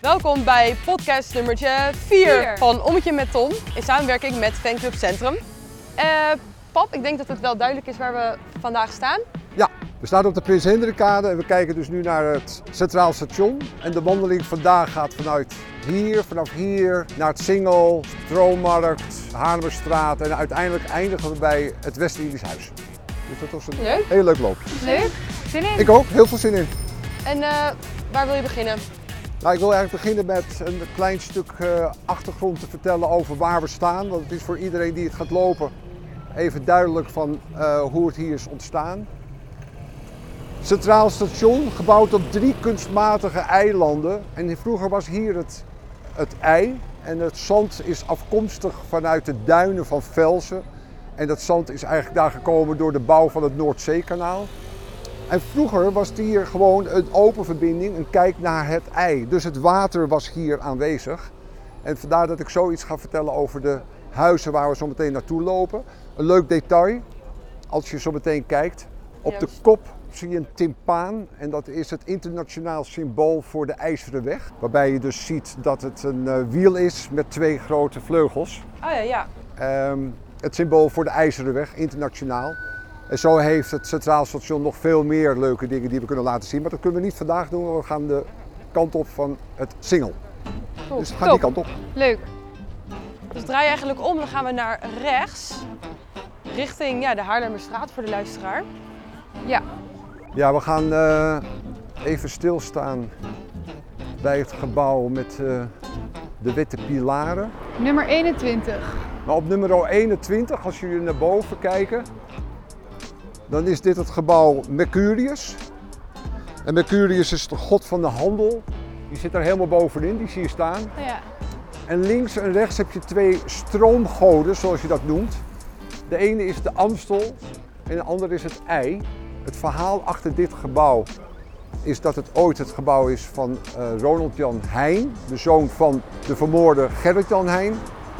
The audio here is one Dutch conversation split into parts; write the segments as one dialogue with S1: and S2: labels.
S1: Welkom bij podcast nummertje 4
S2: Vier.
S1: van Ommetje met Tom. In samenwerking met Fanclub Centrum. Eh, pap, ik denk dat het wel duidelijk is waar we vandaag staan.
S3: Ja, we staan op de Prins Hendrikkade en we kijken dus nu naar het Centraal Station. En de wandeling vandaag gaat vanuit hier, vanaf hier, naar het Singel, Stroommarkt, Haarlemmerstraat en uiteindelijk eindigen we bij het West-Indisch Huis. Dus dat was een
S1: Leuk.
S3: heel leuk loop.
S2: Leuk. Zin in?
S3: Ik ook, heel veel zin in.
S1: En eh, waar wil je beginnen?
S3: Nou, ik wil eigenlijk beginnen met een klein stuk eh, achtergrond te vertellen over waar we staan. Want het is voor iedereen die het gaat lopen even duidelijk van eh, hoe het hier is ontstaan. Centraal station, gebouwd op drie kunstmatige eilanden. En vroeger was hier het, het ei. En het zand is afkomstig vanuit de duinen van Velsen. En dat zand is eigenlijk daar gekomen door de bouw van het Noordzeekanaal. En vroeger was het hier gewoon een open verbinding, een kijk naar het ei. Dus het water was hier aanwezig. En vandaar dat ik zoiets ga vertellen over de huizen waar we zo meteen naartoe lopen. Een leuk detail, als je zo meteen kijkt. Op de
S1: Juist.
S3: kop zie je een timpaan en dat is het internationaal symbool voor de IJzeren Weg. Waarbij je dus ziet dat het een eh, wiel is met twee grote vleugels.
S1: Ah ja, ja.
S3: Ehm, het symbool voor de IJzeren Weg, internationaal. En zo heeft het Centraal Station nog veel meer leuke dingen die we kunnen laten zien. Maar dat kunnen we niet vandaag doen, want we gaan de kant op van het Singel.
S1: Cool.
S3: Dus we gaan
S1: Oh, Top.
S3: die kant op.
S2: Leuk.
S1: Dus draai je eigenlijk om, dan gaan we naar rechts. Richting ja, de Haarlemmerstraat voor de luisteraar.
S3: Ja, we gaan eh, even stilstaan bij het gebouw met eh, de witte pilaren.
S2: Nummer 21.
S3: Maar op nummer 21, als jullie naar boven kijken, dan is dit het gebouw Mercurius. En Mercurius is de god van de handel. Die zit er helemaal bovenin, die zie je staan.
S2: Ja.
S3: En links en rechts heb je twee stroomgoden, zoals je dat noemt. De ene is de Amstel en de andere is het IJ. Het verhaal achter dit gebouw is dat het ooit het gebouw is van eh, Ronald Jan Heijn, de zoon van de vermoorde Gerrit Jan Heijn.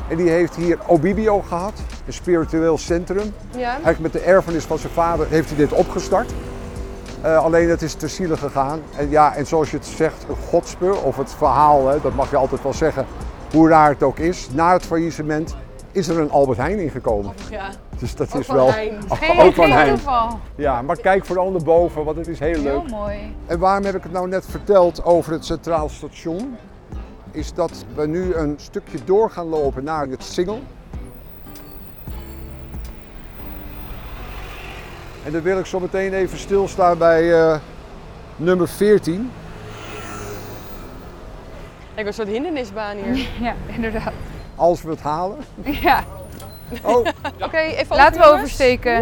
S3: En die heeft hier Obibio gehad, een spiritueel centrum.
S1: Ja.
S3: Eigenlijk met de erfenis van zijn vader heeft hij dit opgestart. Eh, alleen het is te zielig gegaan. En ja, en zoals je het zegt, een godspe of het verhaal, hè, dat mag je altijd wel zeggen, hoe raar het ook is. Na het faillissement is er een Albert Heijn ingekomen.
S1: ja.
S3: Dus dat
S1: Ook
S3: is
S1: van
S3: wel
S1: Heijn.
S2: Geen,
S3: ook Oh, van
S2: geen
S3: Heijn.
S2: toeval.
S3: Ja, maar kijk vooral naar boven, want het is heel leuk.
S2: Heel mooi.
S3: En waarom heb ik het nou net verteld over het Centraal Station? Is dat we nu een stukje door gaan lopen naar het Singel. En dan wil ik zo meteen even stilstaan bij eh, nummer 14.
S1: Lijkt een soort hindernisbaan hier.
S2: Ja, inderdaad.
S3: Als we het halen.
S2: Ja.
S3: Oh,
S1: Oké, even
S2: Laten we
S1: overnummers.
S2: oversteken.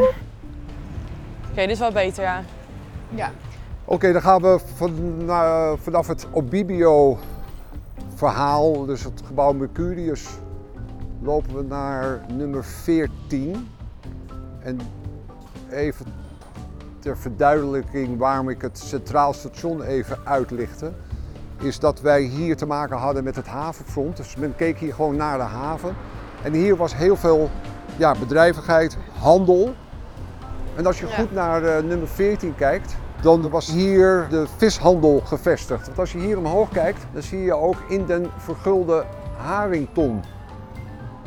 S1: Oké, dit is wel beter, ja.
S2: Ja.
S3: Oké, dan gaan we van, eh, vanaf het Obibio-verhaal, dus het gebouw Mercurius, lopen we naar nummer 14. En even ter verduidelijking waarom ik het Centraal Station even uitlichtte, is dat wij hier te maken hadden met het havenfront. Dus men keek hier gewoon naar de haven. En hier was heel veel ja, bedrijvigheid, handel. En als je
S1: Ja.
S3: goed naar eh, nummer 14 kijkt, dan was hier de vishandel gevestigd. Want als je hier omhoog kijkt, dan zie je ook in den vergulde harington.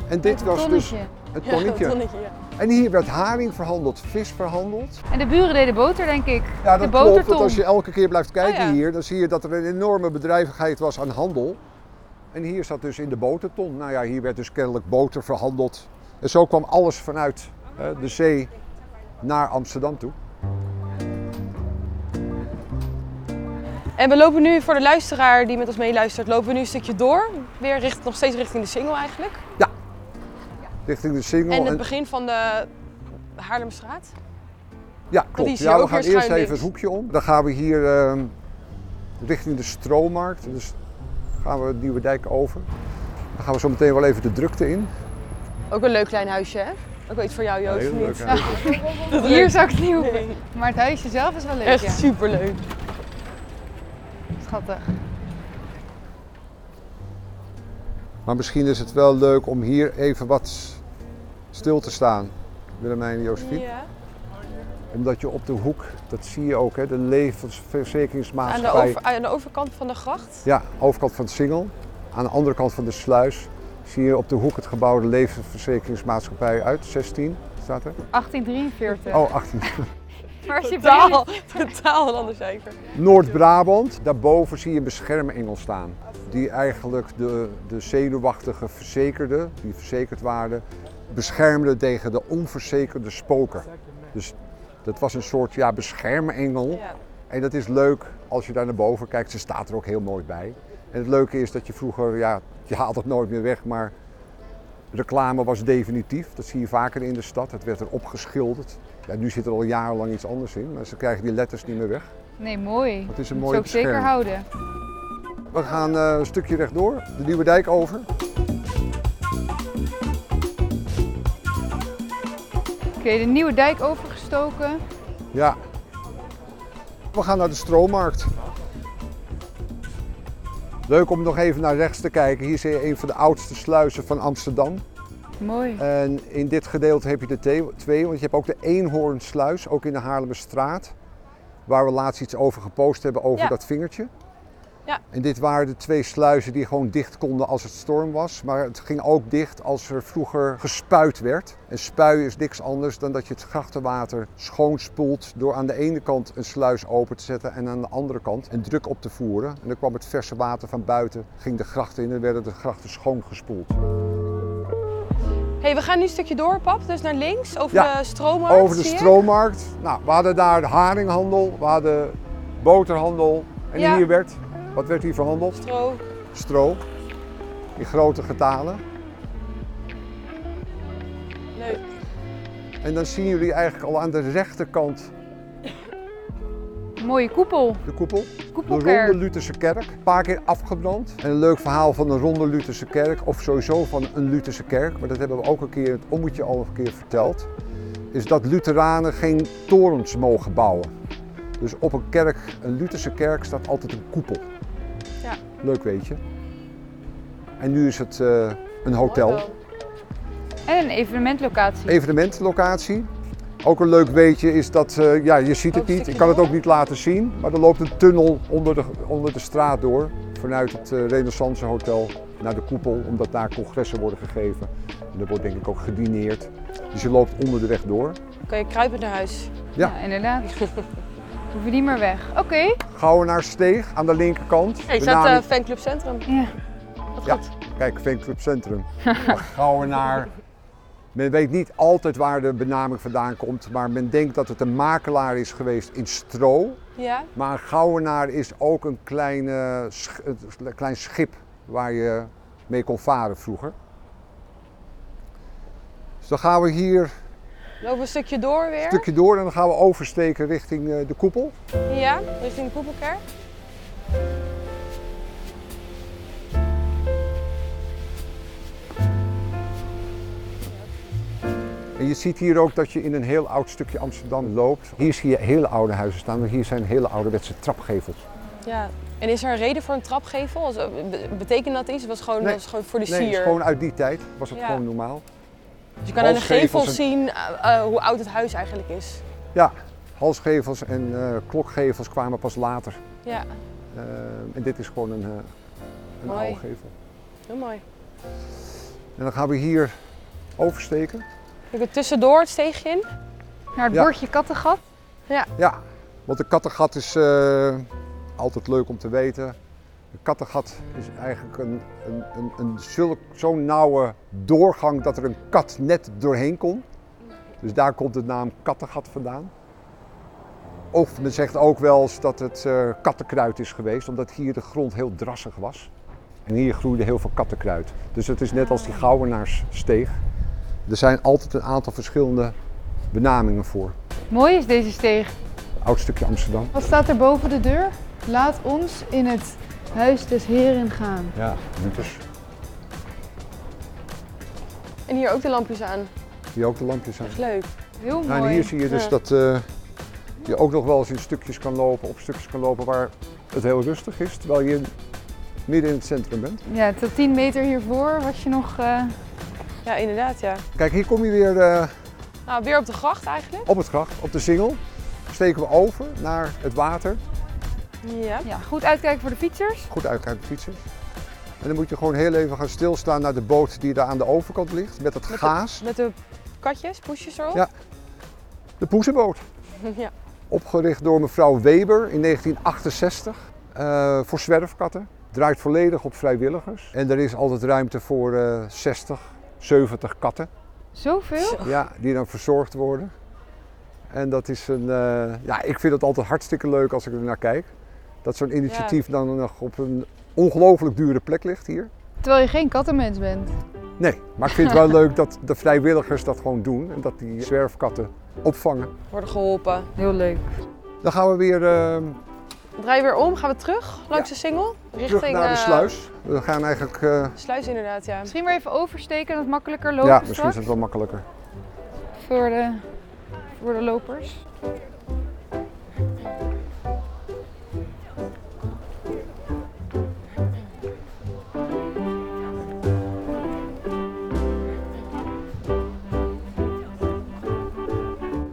S3: En dit
S2: Een
S3: was dus
S2: tonnetje.
S3: het
S1: Ja,
S3: tonnetje.
S1: tonnetje, ja.
S3: En hier werd haring verhandeld, vis verhandeld.
S2: En de buren deden boter, denk ik.
S3: Ja,
S2: de
S3: dat klopt.
S2: boterton.
S3: Want als je elke keer blijft kijken
S1: Oh ja.
S3: hier, dan zie je dat er een enorme bedrijvigheid was aan handel. En hier zat dus in de boterton. Nou ja, hier werd dus kennelijk boter verhandeld. En zo kwam alles vanuit eh, de zee naar Amsterdam toe.
S1: En we lopen nu, voor de luisteraar die met ons meeluistert, lopen we nu een stukje door. Weer richt, nog steeds richting de single eigenlijk.
S3: Richting de Singel.
S1: En het
S3: En-
S1: begin van de Haarlemstraat.
S3: Ja,
S1: is
S3: klopt.
S1: hier
S3: Ja, we
S1: ook
S3: gaan
S1: weer
S3: eerst
S1: schuin
S3: even
S1: links.
S3: het hoekje om. Dan gaan we hier ehm, richting de Stroommarkt. Dus gaan we Nieuwe Dijk over. Dan gaan we zo meteen wel even de drukte in.
S1: Ook een leuk klein huisje, hè? Ook wel iets voor jou, Joost. of niet?
S3: huis.
S2: Hier zou ik het niet hoeven.
S1: Nee.
S2: Maar het huisje zelf is wel leuk,
S1: Echt
S2: ja.
S1: superleuk.
S2: Schattig.
S3: Maar misschien is het wel leuk om hier even wat stil te staan. Willemijn en Josephine.
S1: Ja.
S3: En Omdat je op de hoek, dat zie je ook, hè, de
S1: Aan de,
S3: levensverzekeringsmaatschappij.
S1: over- aan de overkant van de gracht.
S3: Ja, overkant van het Singel. Aan de andere kant van de sluis zie je op de hoek het gebouw de levensverzekeringsmaatschappij uit. 16 staat er.
S2: 1843.
S3: Oh, 18.
S2: Waar is je
S1: Totaal,
S2: benen?
S1: totaal een ander cijfer.
S3: Noord-Brabant. Daarboven zie je een beschermengel staan. Die eigenlijk de, de zenuwachtige verzekerden, die verzekerd waren, beschermde tegen de onverzekerde spoken. Dus dat was een soort ja, beschermengel.
S1: Ja.
S3: En dat is leuk als je daar naar boven kijkt. Ze staat er ook heel mooi bij. En het leuke is dat je vroeger, ja, je haalt het nooit meer weg, maar reclame was definitief. Dat zie je vaker in de stad. Het werd erop geschilderd. Ja, nu zit er al jarenlang iets anders in, maar ze krijgen die letters niet meer weg.
S2: Nee, mooi.
S3: Dat is een
S2: Moet
S3: mooie
S2: ze ook zeker
S3: bescherming.
S2: houden.
S3: We gaan eh, een stukje rechtdoor, de Nieuwe Dijk over.
S2: Oké, de nieuwe dijk overgestoken.
S3: Ja. We gaan naar de stroommarkt. Leuk om nog even naar rechts te kijken. Hier zie je een van de oudste sluizen van Amsterdam.
S2: Mooi.
S3: En in dit gedeelte heb je de te- twee, want je hebt ook de Eenhoornsluis, ook in de Haarlemmerstraat. Waar we laatst iets over gepost hebben, over
S1: Ja.
S3: dat vingertje.
S1: Ja.
S3: En dit waren de twee sluizen die gewoon dicht konden als het storm was. Maar het ging ook dicht als er vroeger gespuit werd. En spuien is niks anders dan dat je het grachtenwater schoonspoelt... door aan de ene kant een sluis open te zetten en aan de andere kant een druk op te voeren. En dan kwam het verse water van buiten, ging de gracht in en werden de grachten schoongespoeld.
S1: hey, we gaan nu een stukje door, pap. Dus naar links, over
S3: Ja,
S1: de stroommarkt.
S3: Over de
S1: zie je.
S3: stroommarkt. Nou, we hadden daar de haringhandel, we hadden boterhandel. En
S2: Ja.
S3: hier werd, wat werd hier verhandeld?
S1: Stro.
S3: Stro. In grote getalen.
S1: Leuk.
S3: En dan zien jullie eigenlijk al aan de rechterkant
S2: Mooie koepel.
S3: de koepel. De
S2: Koepelkerk.
S3: Ronde Lutherse Kerk. Een paar keer afgebrand. En een leuk verhaal van de Ronde Lutherse Kerk, of sowieso van een Lutherse Kerk, maar dat hebben we ook een keer in het ommetje al een keer verteld. Is dat Lutheranen geen torens mogen bouwen. Dus op een kerk, een Lutherse kerk, staat altijd een koepel.
S1: Ja.
S3: Leuk weet je. En nu is het eh, een hotel.
S2: En een evenementlocatie.
S3: Evenementenlocatie. Ook een leuk weetje is dat, eh, ja, je ziet het
S1: Ook een
S3: niet,
S1: Oh,
S3: ik
S1: stukje
S3: kan het
S1: door.
S3: ook niet laten zien, maar er loopt een tunnel onder de, onder de straat door, vanuit het eh, Renaissance Hotel naar de koepel, omdat daar congressen worden gegeven. En er wordt denk ik ook gedineerd. Dus je loopt onder de weg door.
S1: Oké, kruipen naar huis.
S3: Ja.
S2: Ja, Nou, inderdaad. We hoeven niet meer weg. Oké.
S3: Gouwenaarsteeg aan de linkerkant.
S1: Hey,
S3: De
S1: staat
S3: naam-
S1: eh, Fanclub Centrum.
S2: Ja.
S1: Wat
S3: Ja.
S1: goed.
S3: Kijk, Fanclub Centrum. Gouwenaar. Men weet niet altijd waar de benaming vandaan komt, maar men denkt dat het een makelaar is geweest in stro.
S1: Ja.
S3: Maar een gouwenaar is ook een kleine, sch- een klein schip waar je mee kon varen vroeger. Dus dan gaan we hier een
S1: Lopen we een stukje door weer.
S3: stukje door en dan gaan we oversteken richting eh, de koepel.
S1: Ja, richting de Koepelkerk.
S3: En je ziet hier ook dat je in een heel oud stukje Amsterdam loopt. Hier zie je hele oude huizen staan, want hier zijn hele ouderwetse trapgevels.
S1: Ja. En is er een reden voor een trapgevel? Als- eh, be- Betekent dat iets? Was gewoon,
S3: Nee.
S1: was gewoon voor de
S3: Nee,
S1: sier.
S3: gewoon uit die tijd was het
S1: Ja.
S3: gewoon normaal.
S1: Dus je kan aan de
S3: halsgevels
S1: gevels
S3: en-
S1: zien eh, eh, hoe oud het huis eigenlijk is.
S3: Ja, halsgevels en eh, klokgevels kwamen pas later.
S1: Ja,
S3: Eh, en dit is gewoon een, eh een
S1: Mooi.
S3: oude gevel.
S1: heel mooi.
S3: En dan gaan we hier oversteken.
S1: Ik er tussendoor het steegje in.
S2: Naar het
S3: Ja.
S2: bordje kattengat.
S3: Ja, want een kattengat is eh, altijd leuk om te weten. Een kattengat is eigenlijk een, een, een, een zulk- zo'n nauwe doorgang dat er een kat net doorheen kon. Dus daar komt de naam kattengat vandaan. Of men zegt ook wel eens dat het eh, kattenkruid is geweest, omdat hier de grond heel drassig was. En hier groeide heel veel kattenkruid. Dus het is net als die gouwenaarssteeg. Er zijn altijd een aantal verschillende benamingen voor.
S2: Mooi is deze steeg.
S3: Oud stukje Amsterdam.
S4: Wat staat er boven de deur? Laat ons in het huis des heren gaan.
S3: Ja, Lucas.
S1: En hier ook de lampjes aan.
S3: Die ook de lampjes aan.
S1: Echt leuk.
S2: Heel mooi.
S3: Nou, en hier zie je dus
S1: Ja.
S3: dat eh, je ook nog wel eens in stukjes kan lopen, op stukjes kan lopen waar het heel rustig is, terwijl je midden in het centrum bent.
S2: Ja, tot 10 meter hiervoor was je nog... eh,
S1: Ja, inderdaad, ja.
S3: Kijk, hier kom je weer eh,
S1: Nou, weer op de gracht eigenlijk.
S3: Op het gracht, op de singel, steken we over naar het water.
S1: Ja.
S2: Ja, goed uitkijken voor de fietsers.
S3: Goed uitkijken met fietsen. En dan moet je gewoon heel even gaan stilstaan naar de boot die daar aan de overkant ligt. Met dat
S1: Met
S3: gaas.
S1: De, met de katjes, poesjes erop.
S3: Ja. De poesenboot.
S1: Ja.
S3: Opgericht door mevrouw Weber in 1968 eh, voor zwerfkatten. Draait volledig op vrijwilligers. En er is altijd ruimte voor eh 60, 70 katten.
S2: Zoveel?
S3: Ja, die dan verzorgd worden. En dat is een. eh, ja, ik vind het altijd hartstikke leuk als ik er naar kijk. Dat zo'n initiatief dan nog op een ongelooflijk dure plek ligt hier.
S4: Terwijl je geen kattenmens bent.
S3: Nee, maar ik vind het wel leuk dat de vrijwilligers dat gewoon doen en dat die zwerfkatten opvangen.
S1: Worden geholpen.
S2: Heel leuk.
S3: Dan gaan we weer eh,
S1: Draai weer om, gaan we terug langs de single. Richting
S3: terug naar de
S1: eh,
S3: sluis. We gaan eigenlijk. eh,
S1: sluis inderdaad, ja.
S2: Misschien weer even oversteken, dat het makkelijker lopen
S3: ja, misschien
S2: straks.
S3: is het wel makkelijker.
S2: Voor de, voor de lopers.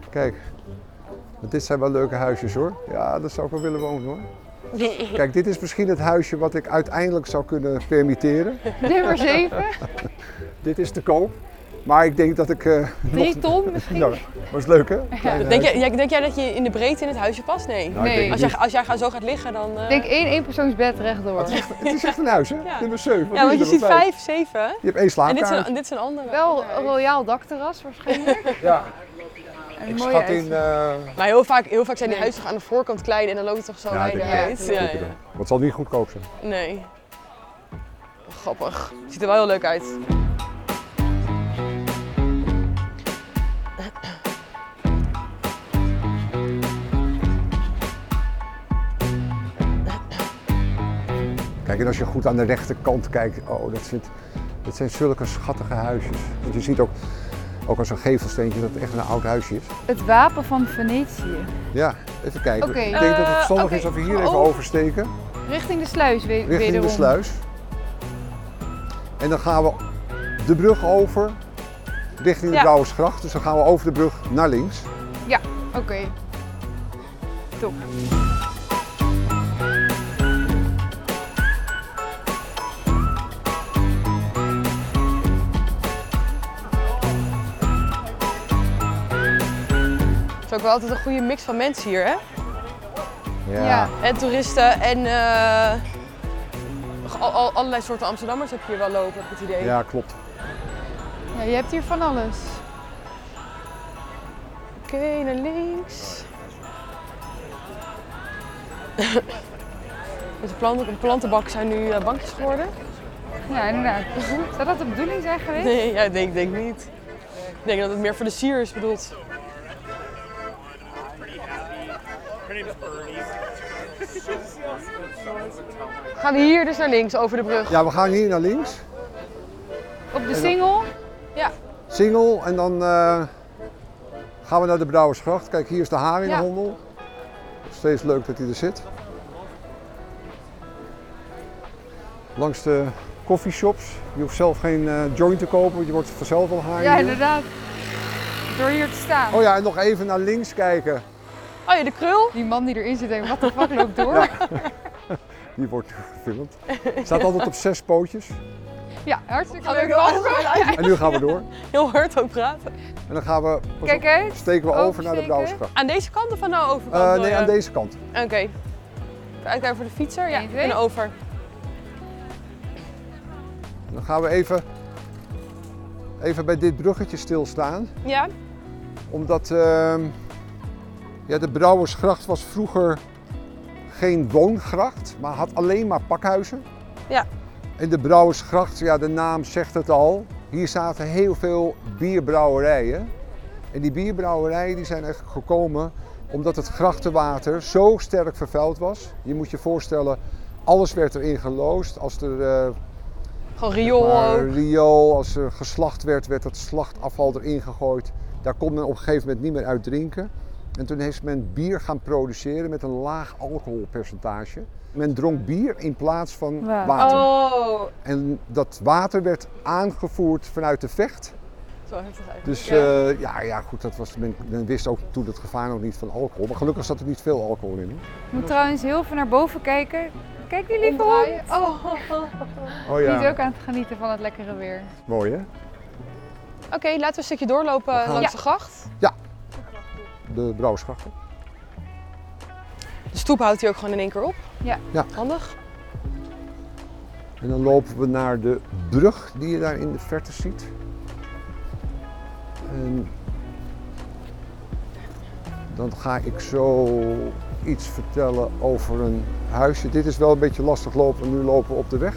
S3: Kijk, want dit zijn wel leuke huisjes hoor. Ja, daar zou ik wel willen wonen hoor. Kijk, dit is misschien het huisje wat ik uiteindelijk zou kunnen permitteren.
S2: Nummer 7.
S3: Dit is te koop. Maar ik denk dat ik. eh nog...
S2: 3 ton misschien.
S3: Nou, was leuk hè? Kleine
S1: Denk,
S3: huis.
S1: jij, jij- denk jij dat je in de breedte in het huisje past? Nee.
S3: Nou, ik
S2: Nee.
S3: denk
S1: Als
S3: het
S1: jij, als jij gaan zo gaat liggen, dan... eh,
S2: Ik denk één eenpersoonsbed rechtdoor.
S3: niet. Het is echt een huis hè?
S1: Ja.
S3: Nummer 7.
S1: ja, want je ziet vijf, zeven.
S3: Je hebt één
S1: En dit
S3: slaapkamer.
S1: zijn, en dit zijn andere.
S2: Wel eh, een royaal dakterras waarschijnlijk.
S3: Ja,
S2: En
S3: ik
S2: mooie
S3: schat
S2: uitzicht.
S3: in. eh,
S1: Maar heel vaak, heel vaak zijn die
S2: Nee.
S1: huizen aan de voorkant klein en dan loopt het toch zo
S3: Ja,
S1: rijden
S3: denk
S2: ik
S1: uit.
S2: ook.
S1: Ja,
S3: €100
S1: ja.
S3: euro. Want het zal niet goedkoop zijn.
S1: Nee. Grappig. Ziet er wel heel leuk uit.
S3: Kijk, en als je goed aan de rechterkant kijkt, oh, dat, zit, dat zijn zulke schattige huisjes. Want je ziet ook, ook als een gevelsteentje dat het echt een oud huisje is.
S2: Het wapen van Venetië.
S3: Ja, even kijken.
S2: Oké.
S3: Ik denk dat het
S1: Eh,
S3: verstandig
S1: oké,
S3: is dat we
S1: gaan
S3: hier
S1: we
S3: even
S1: over?
S3: oversteken,
S2: Richting de sluis we-
S3: richting
S2: wederom.
S3: de sluis. En dan gaan we de brug over, richting de
S1: Ja.
S3: Brouwersgracht. Dus dan gaan we over de brug naar links.
S2: Ja, oké. Top.
S1: Het is ook wel altijd een goede mix van mensen hier, hè?
S3: Ja.
S2: Ja.
S1: En toeristen en eh, al, al- allerlei soorten Amsterdammers heb je hier wel lopen, heb ik het idee.
S3: Ja, klopt.
S4: Ja, je hebt hier van alles.
S1: Oké, naar links. Met de plant, een plantenbak zijn nu eh, bankjes geworden.
S2: Ja, inderdaad. Zou dat de bedoeling zijn geweest?
S1: Nee, ja, ik denk, ik denk niet. Ik denk dat het meer voor de sier is bedoeld. We gaan hier dus naar links over de brug.
S3: Ja, we gaan hier naar links.
S2: Op de single?
S3: Singel en dan eh, gaan we naar de Brouwersgracht. Kijk, hier is de haringhandel. Steeds leuk dat hij er zit. Langs de coffeeshops. Je hoeft zelf geen eh, joint te kopen, want je wordt vanzelf al haring.
S2: Ja, inderdaad. Door hier te staan.
S3: Ah, Oh ja, en nog even naar links kijken.
S1: Oh ja, de krul.
S2: Die man die erin zit denkt, wat de fuck loopt door?
S3: Die wordt gefilmd. Staat altijd op zes pootjes.
S2: Ja, hartstikke
S1: Gaan we
S2: leuk.
S1: weer over.
S3: En nu gaan we door.
S1: Heel hard ook praten.
S3: En dan gaan we, pas
S2: Kijk
S3: op,
S2: uit.
S3: steken we over naar de
S2: Oversteken.
S3: Brouwersgracht.
S1: Aan deze kant of aan de overkant?
S3: Eh,
S1: wil
S3: nee,
S1: je?
S3: aan deze kant.
S1: Oké. Uitkijken voor de fietser. Ja,
S2: Eén, twee.
S1: en over.
S3: Dan gaan we even, even bij dit bruggetje stilstaan.
S1: Ja?
S3: Omdat ehm, ja, de Brouwersgracht was vroeger geen woongracht, maar had alleen maar pakhuizen.
S1: Ja.
S3: En de Brouwersgracht, ja, de naam zegt het al. Hier zaten heel veel bierbrouwerijen. En die bierbrouwerijen die zijn eigenlijk gekomen omdat het grachtenwater zo sterk vervuild was. Je moet je voorstellen, alles werd erin geloosd. Als er eh,
S1: Gewoon riool
S3: maar
S1: ook.
S3: riool, als er geslacht werd, werd dat slachtafval erin gegooid. Daar kon men op een gegeven moment niet meer uit drinken. En toen is men bier gaan produceren met een laag alcoholpercentage. Men dronk bier in plaats van
S2: Wa-
S3: water.
S1: Oh.
S3: En dat water werd aangevoerd vanuit de vecht.
S1: Het wel heftig eigenlijk.
S3: Dus
S1: Ja.
S3: eh, ja, ja, goed, dat was, men, men wist ook toen het gevaar nog niet van alcohol. Maar gelukkig zat er niet veel alcohol in. hoor.
S2: Ik moet trouwens heel veel naar boven kijken. Kijk die lieve hond.
S4: Omdraaien.
S1: Oh,
S3: Oh
S2: Die is ook aan het genieten van het lekkere weer.
S3: mooi hè?
S1: Oké, laten we een stukje doorlopen
S3: gaan-
S1: langs
S2: Ja.
S1: de gracht.
S3: De Brouwersgracht.
S1: De stoep houdt hij ook gewoon in één keer op.
S2: Ja.
S3: Ja.
S1: Handig.
S3: En dan lopen we naar de brug die je daar in de verte ziet. En dan ga ik zo iets vertellen over een huisje. Dit is wel een beetje lastig lopen, nu lopen we op de weg.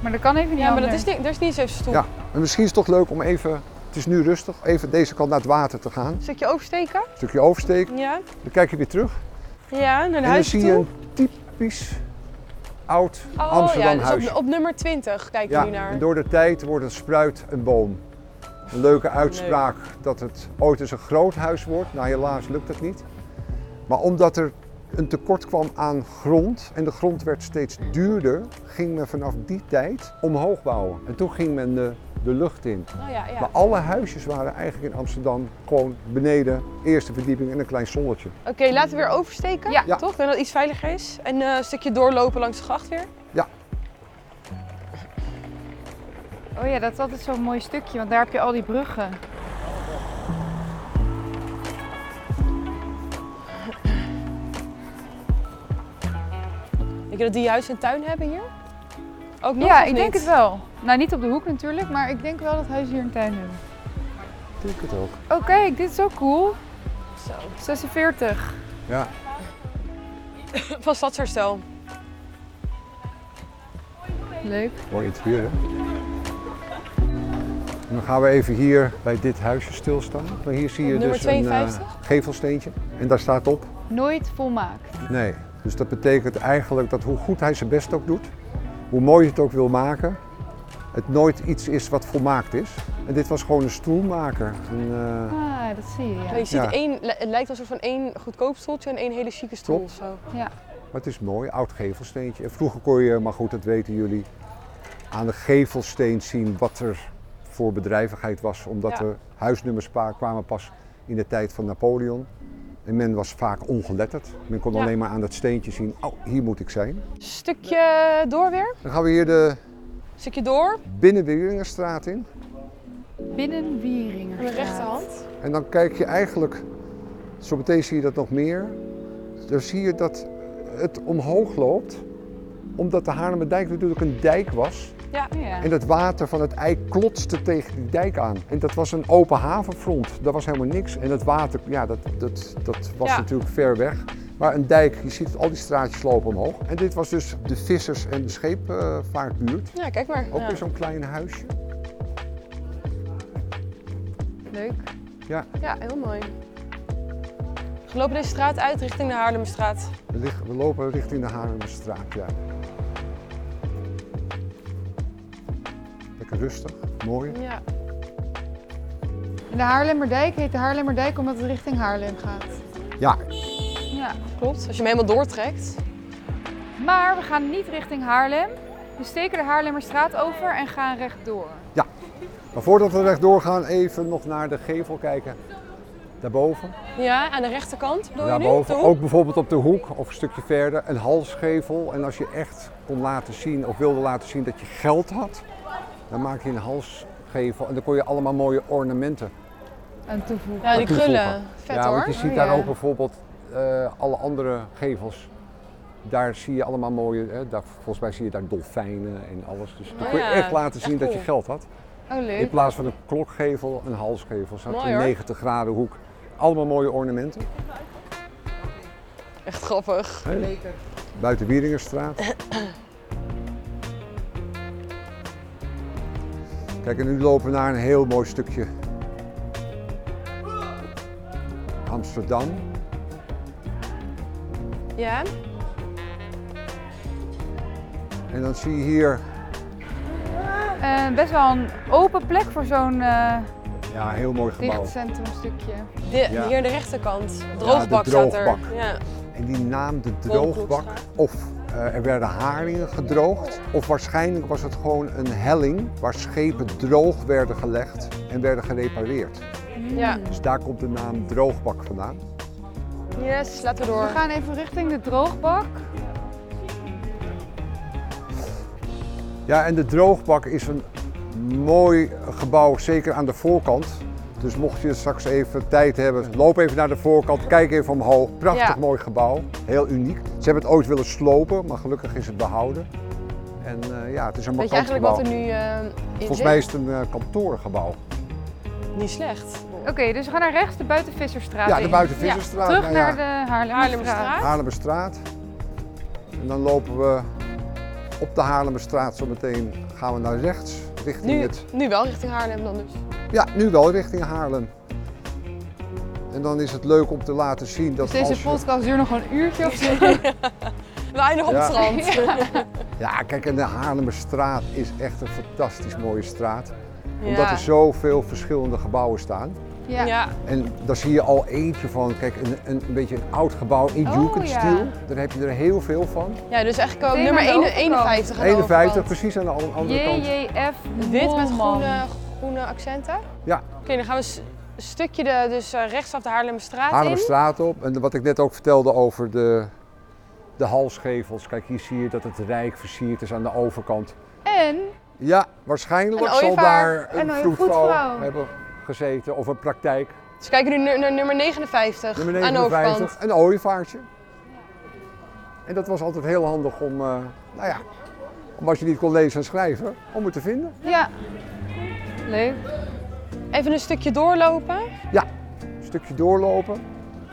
S2: Maar dat kan even niet
S1: Ja, maar dat
S2: anders.
S1: is niet, er is niet zo'n stoep.
S3: Ja. En misschien is het toch leuk om even, het is nu rustig, even deze kant naar het water te gaan.
S1: Een stukje oversteken.
S3: Een stukje oversteken,
S1: Ja.
S3: dan kijk je weer terug.
S1: Ja, naar de
S3: En dan
S1: huis
S3: zie
S1: toe.
S3: je een typisch oud
S1: Oh
S3: Amsterdam
S1: ja, dus
S3: huisje.
S1: op, op nummer 20 kijk je nu naar.
S3: en door de tijd wordt een spruit een boom. Een leuke uitspraak dat het ooit eens een groot huis wordt. Nou, helaas lukt dat niet. Maar omdat er een tekort kwam aan grond en de grond werd steeds duurder, ging men vanaf die tijd omhoog bouwen. En toen ging men de, de lucht in.
S1: Oh ja, ja.
S3: Maar alle huisjes waren eigenlijk in Amsterdam gewoon beneden, eerste verdieping en een klein zonnetje.
S1: Oké, laten we weer oversteken.
S2: Ja.
S3: Ja.
S1: Toch? Ik denk dat het iets veiliger is. En eh, een stukje doorlopen langs de gracht weer.
S2: Oh ja, dat is altijd zo'n mooi stukje, want daar heb je al die bruggen.
S1: Denk je dat die huis en tuin hebben hier? Ook nog
S2: ja,
S1: of
S2: ik denk
S1: niet?
S2: het wel. Nou, niet op de hoek natuurlijk.
S4: Tuurlijk, maar ik denk wel dat huizen hier een tuin hebben.
S3: Ik denk het ook.
S2: Oh kijk, dit is ook cool.
S1: Zo.
S2: 46.
S3: Ja,
S1: Van stadsherstel.
S4: Leuk.
S3: Mooi interieur, hè? En dan gaan we even hier bij dit huisje stilstaan. Maar hier zie
S1: Op
S3: je
S1: nummer
S3: dus een eh,
S1: 52?
S3: gevelsteentje. En daar staat op,
S4: Nooit volmaakt.
S3: nee. Dus dat betekent eigenlijk dat hoe goed hij zijn best ook doet, hoe mooi je het ook wil maken, het nooit iets is wat volmaakt is. En dit was gewoon een stoelmaker. Een, eh,
S4: Ah, dat zie je,
S1: Ja,
S4: ja.
S1: je ziet
S3: Ja.
S1: één, li- het lijkt als een soort van één goedkoop stoeltje en één hele chique stoel.
S3: Klopt.
S1: of Zo.
S3: maar het is mooi, oud gevelsteentje. En vroeger kon je, maar goed, dat weten jullie, aan de gevelsteen zien wat er voor bedrijvigheid was. Omdat
S1: Ja.
S3: de huisnummers pa- kwamen pas in de tijd van Napoleon. En men was vaak ongeletterd. Men kon
S1: Ja.
S3: alleen maar aan dat steentje zien, oh, hier moet ik zijn.
S1: Stukje door weer.
S3: Dan gaan we hier de
S1: Stukje door.
S3: Binnenwieringenstraat in.
S4: Binnen
S1: Aan de
S4: Wieringen.
S1: rechterhand.
S3: En dan kijk je eigenlijk, zo meteen zie je dat nog meer. Dan zie je dat het omhoog loopt. Omdat de Haarlemmerdijk natuurlijk een dijk was.
S2: Ja.
S3: En het water van het eik klotste tegen die dijk aan. En dat was een open havenfront. Daar was helemaal niks. En het water, ja, dat, dat, dat was
S1: Ja.
S3: natuurlijk ver weg. Maar een dijk, je ziet al die straatjes lopen omhoog. En dit was dus de vissers- en de scheepvaartbuurt.
S1: Ja, kijk maar.
S3: Ook
S1: Ja.
S3: weer zo'n klein huisje.
S2: Leuk.
S1: Ja, heel mooi. We lopen deze straat uit richting de Haarlemstraat.
S3: We, lig- we lopen richting de Haarlemmerstraat, ja. Lekker rustig, mooi.
S1: Ja.
S4: En de Haarlemmerdijk heet de Haarlemmerdijk omdat het richting Haarlem gaat.
S3: Ja,
S2: Ja.
S1: Klopt. Als je hem helemaal doortrekt.
S2: Maar we gaan niet richting Haarlem. We steken de Haarlemmerstraat over en gaan rechtdoor.
S3: maar voordat we rechtdoor gaan, even nog naar de gevel kijken. Daarboven.
S1: Ja, aan de rechterkant bedoel je nu?
S3: Daarboven,
S1: Toe?
S3: ook bijvoorbeeld op de hoek of een stukje verder, een halsgevel. En als je echt kon laten zien of wilde laten zien dat je geld had, dan maak je een halsgevel en dan kon je allemaal mooie ornamenten.
S4: Aan toevoegen.
S1: Ja, die
S3: Naartoe
S1: krullen.
S3: voegen.
S1: Vet
S3: ja,
S1: hoor.
S3: want je ziet
S4: Oh,
S3: daar
S4: ja.
S3: ook bijvoorbeeld eh, alle andere gevels. Daar zie je allemaal mooie, hè, daar, volgens mij zie je daar dolfijnen en alles. Dus dan
S1: Oh
S3: kon je
S1: ja,
S3: echt laten
S1: echt
S3: zien dat je
S1: cool.
S3: geld had.
S4: Oh,
S3: In
S4: leuk.
S3: plaats van een klokgevel, een halsgevel, zat
S1: Mooi,
S3: een
S1: hoor.
S3: 90 graden hoek. Allemaal mooie ornamenten.
S1: Echt grappig.
S3: Buiten Wieringerstraat. Kijk, en nu lopen we naar een heel mooi stukje Amsterdam.
S1: Ja.
S3: En dan zie je hier
S2: Eh, best wel een open plek voor zo'n eh,
S3: ja, een heel mooi gebouw.
S4: Dicht centrumstukje.
S1: De,
S3: Ja.
S1: Hier aan de rechterkant. Droogbak,
S3: de
S1: staat er.
S3: droogbak.
S1: Ja.
S3: En die naam, de droogbak of eh, Eh, er werden haringen gedroogd. Of waarschijnlijk was het gewoon een helling waar schepen droog werden gelegd en werden gerepareerd.
S1: Ja.
S3: Dus daar komt de naam droogbak vandaan.
S1: Yes, laten we
S4: We
S1: door.
S4: gaan even richting de droogbak.
S3: Ja, en de droogbak is een mooi gebouw, zeker aan de voorkant. Dus mocht je straks even tijd hebben, loop even naar de voorkant, kijk even omhoog. Prachtig
S1: Ja.
S3: mooi gebouw, heel uniek. Ze hebben het ooit willen slopen, maar gelukkig is het behouden. En eh, ja, het is een
S1: Weet
S3: markant
S1: je eigenlijk
S3: gebouw.
S1: wat er nu eh, in
S3: Volgens
S1: zit?
S3: mij is het een eh, kantoorgebouw.
S1: Niet slecht.
S2: Oké, dus we gaan naar rechts de Buitenvisserstraat
S3: Ja, de
S2: in.
S3: Buitenvisserstraat.
S2: Terug
S3: nou ja.
S2: naar de Haarlemmerstraat.
S1: Haarlemmerstraat.
S3: Haarlemmerstraat. En dan lopen we op de Haarlemmerstraat zometeen gaan we naar rechts richting
S1: Nu,
S3: het.
S1: nu wel richting Haarlem dan dus.
S3: Ja, nu wel richting Haarlem. En dan is het leuk om te laten zien dat
S4: Dus deze
S3: als je-
S4: podcast duurt nog een uurtje of zo.
S1: We eindigen op
S3: Ja.
S1: het strand.
S3: Ja, kijk, en de Haarlemmerstraat is echt een fantastisch mooie straat. Omdat
S1: Ja.
S3: er zoveel verschillende gebouwen staan.
S4: Ja.
S1: Ja.
S3: En daar zie je al eentje van. Kijk, een, een, een beetje een oud gebouw in
S4: Oh,
S3: Jukenstil.
S4: ja.
S3: Daar heb je er heel veel van.
S1: ja, dus eigenlijk ook
S2: Meteen
S1: nummer
S2: aan de
S1: één-
S2: overkant.
S1: 51 aan de
S3: 51,
S1: overkant.
S3: precies aan de an- andere kant.
S2: JJF
S1: Wit met
S2: Molman.
S1: groene, groene accenten.
S3: Ja.
S1: Oké, dan gaan we s- een stukje de, dus eh, rechtsaf de Haarlemstraat in.
S3: Haarlemmerstraat op. En wat ik net ook vertelde over de, de halsgevels. Kijk, hier zie je dat het rijk versierd is aan de overkant.
S4: En
S3: Ja, waarschijnlijk
S1: Een
S3: zal
S1: ooievaar,
S3: daar een
S4: een ooie-
S3: vroedvrouw
S4: vroedvrouw.
S3: hebben gezeten of een praktijk.
S1: Dus we kijken nu naar, naar nummer 59,
S3: Nummer
S1: aan de overkant.
S3: 59, een ooievaartje. En dat was altijd heel handig om, eh, nou ja, om als je niet kon lezen en schrijven, om het te vinden.
S4: ja,
S2: Leuk.
S1: Even een stukje doorlopen.
S3: Ja, een stukje doorlopen.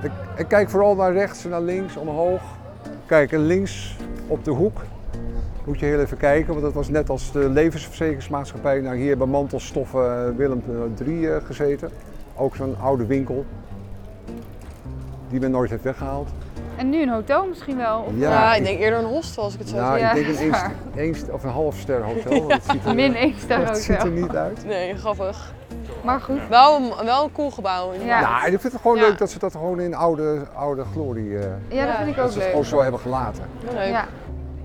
S3: En, en kijk vooral naar rechts en naar links, omhoog. Kijk, en links op de hoek. Moet je heel even kijken, want dat was net als de levensverzekeringsmaatschappij. Nou, hier bij Mantelstoffen eh, Willem III eh, gezeten. Ook zo'n oude winkel. Die men nooit heeft weggehaald.
S2: En nu een hotel misschien wel. Of
S1: Ja, ik
S3: ik,
S1: denk eerder een hostel als ik het zo
S3: nou,
S2: ja,
S3: ik denk een,
S2: is
S3: eens,
S2: waar.
S3: eens- of een half ster hotel. want het ziet er,
S2: Min één ster
S3: het ziet er
S2: hotel.
S3: niet uit.
S1: zie. Nee, grappig.
S2: Maar goed.
S1: Wel een, wel een cool gebouw. inderdaad.
S2: Ja.
S3: Ja, en Nou, ik vind het gewoon
S1: Ja.
S3: leuk dat ze dat gewoon in oude, oude glorie. eh,
S2: Ja, dat
S1: Ja.
S2: vind ik
S3: dat
S2: ook
S3: ze het gewoon
S2: leuk.
S3: zo hebben gelaten.
S1: Heel Leuk.
S2: Ja.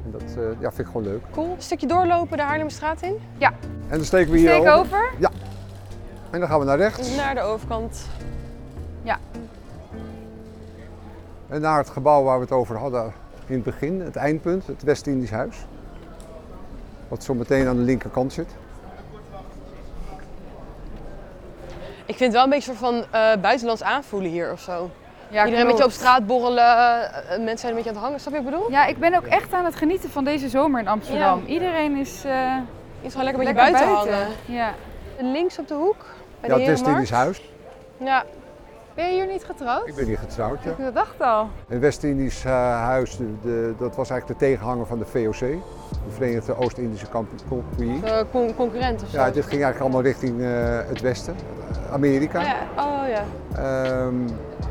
S3: En dat eh, ja, vind ik gewoon leuk.
S1: Cool. Een stukje doorlopen de Haarlemstraat in.
S3: En dan steken we hier
S2: Steek
S3: over.
S2: over.
S3: En dan gaan we naar rechts.
S1: Naar de overkant.
S3: En naar het gebouw waar we het over hadden in het begin. Het eindpunt, het West-Indisch Huis. Wat zo meteen aan de linkerkant zit.
S1: Ik vind het wel een beetje soort van eh, buitenlands aanvoelen hier of zo.
S2: Ja,
S1: Iedereen een beetje op
S2: klopt.
S1: straat borrelen, eh, eh, mensen zijn een beetje aan het hangen. Snap je wat ik bedoel?
S2: Ja, ik ben ook echt aan het genieten van deze zomer in Amsterdam. Iedereen is eh,
S1: Je gewoon lekker een
S2: lekker
S1: beetje buiten, hangen.
S2: buiten. Ja.
S1: Links op de hoek, bij
S3: ja,
S1: de
S3: het West-Indisch
S1: Herenmarkt.
S3: Huis.
S1: Ja,
S4: ben je hier niet getrouwd?
S3: Ik ben hier getrouwd, ja.
S4: Ik dacht al.
S3: Het West-Indisch eh, Huis, de, de- dat was eigenlijk de tegenhanger van de VOC. De Verenigde Oost-Indische Kamp- Compagnie.
S1: de Eh, con- concurrent of zo.
S3: Ja, dit ging eigenlijk allemaal richting eh, het Westen, Amerika.
S1: Ja, Oh ja.
S3: Ehm,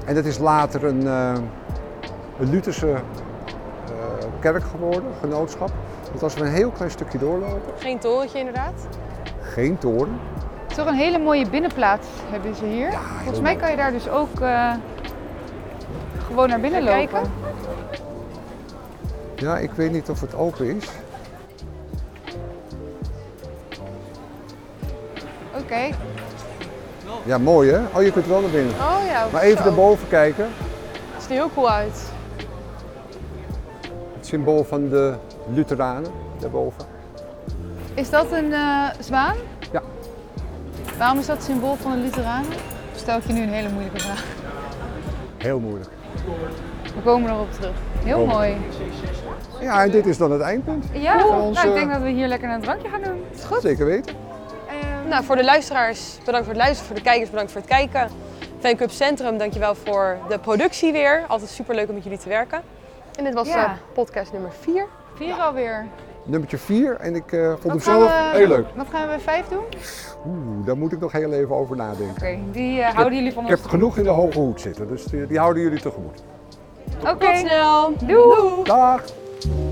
S3: en dat is later een, eh, een Lutherse eh, kerk geworden, genootschap. Want als we een heel klein stukje doorlopen,
S1: Geen torentje inderdaad.
S3: geen toren.
S4: Toch een hele mooie binnenplaats hebben ze hier. Volgens mij kan je daar dus ook eh, gewoon naar binnen
S1: Even
S4: lopen.
S1: kijken.
S3: Ja, ik weet niet of het open is.
S4: Oké.
S3: Ja, mooi hè? Oh, je kunt wel naar binnen.
S1: Oh ja.
S3: Maar even
S1: zo.
S3: naar boven kijken.
S1: Het ziet er heel cool uit.
S3: Het symbool van de Lutheranen, daarboven.
S4: Is dat een eh, zwaan?
S3: Ja.
S4: Waarom is dat symbool van de Lutheranen? Stel ik je nu een hele moeilijke vraag.
S3: Heel moeilijk.
S4: We komen erop terug. Heel
S3: Komen.
S4: mooi.
S3: Ja, en dit is dan het eindpunt.
S2: Ja,
S3: Voor ons,
S2: nou, ik
S3: eh,
S2: denk dat we hier lekker een drankje gaan doen.
S3: Zeker weten.
S1: Nou, voor de luisteraars bedankt voor het luisteren. Voor de kijkers bedankt voor het kijken. Fancup Centrum, dankjewel voor de productie weer. Altijd superleuk om met jullie te werken. En dit was
S2: Ja.
S1: eh, podcast nummer 4.
S4: Vier alweer.
S3: Nummertje 4 en ik eh, vond hem
S4: Wat gaan
S3: zelf
S4: we-
S3: heel leuk.
S4: Wat gaan we bij vijf doen?
S3: Oeh, daar moet ik nog heel even over nadenken.
S2: Oké, die eh, houden jullie van
S3: Ik
S2: ons.
S3: heb genoeg in de hoge hoed zitten, dus die, die houden jullie tegemoet.
S2: Oké,
S1: Tot snel.
S2: doei.
S3: Dag!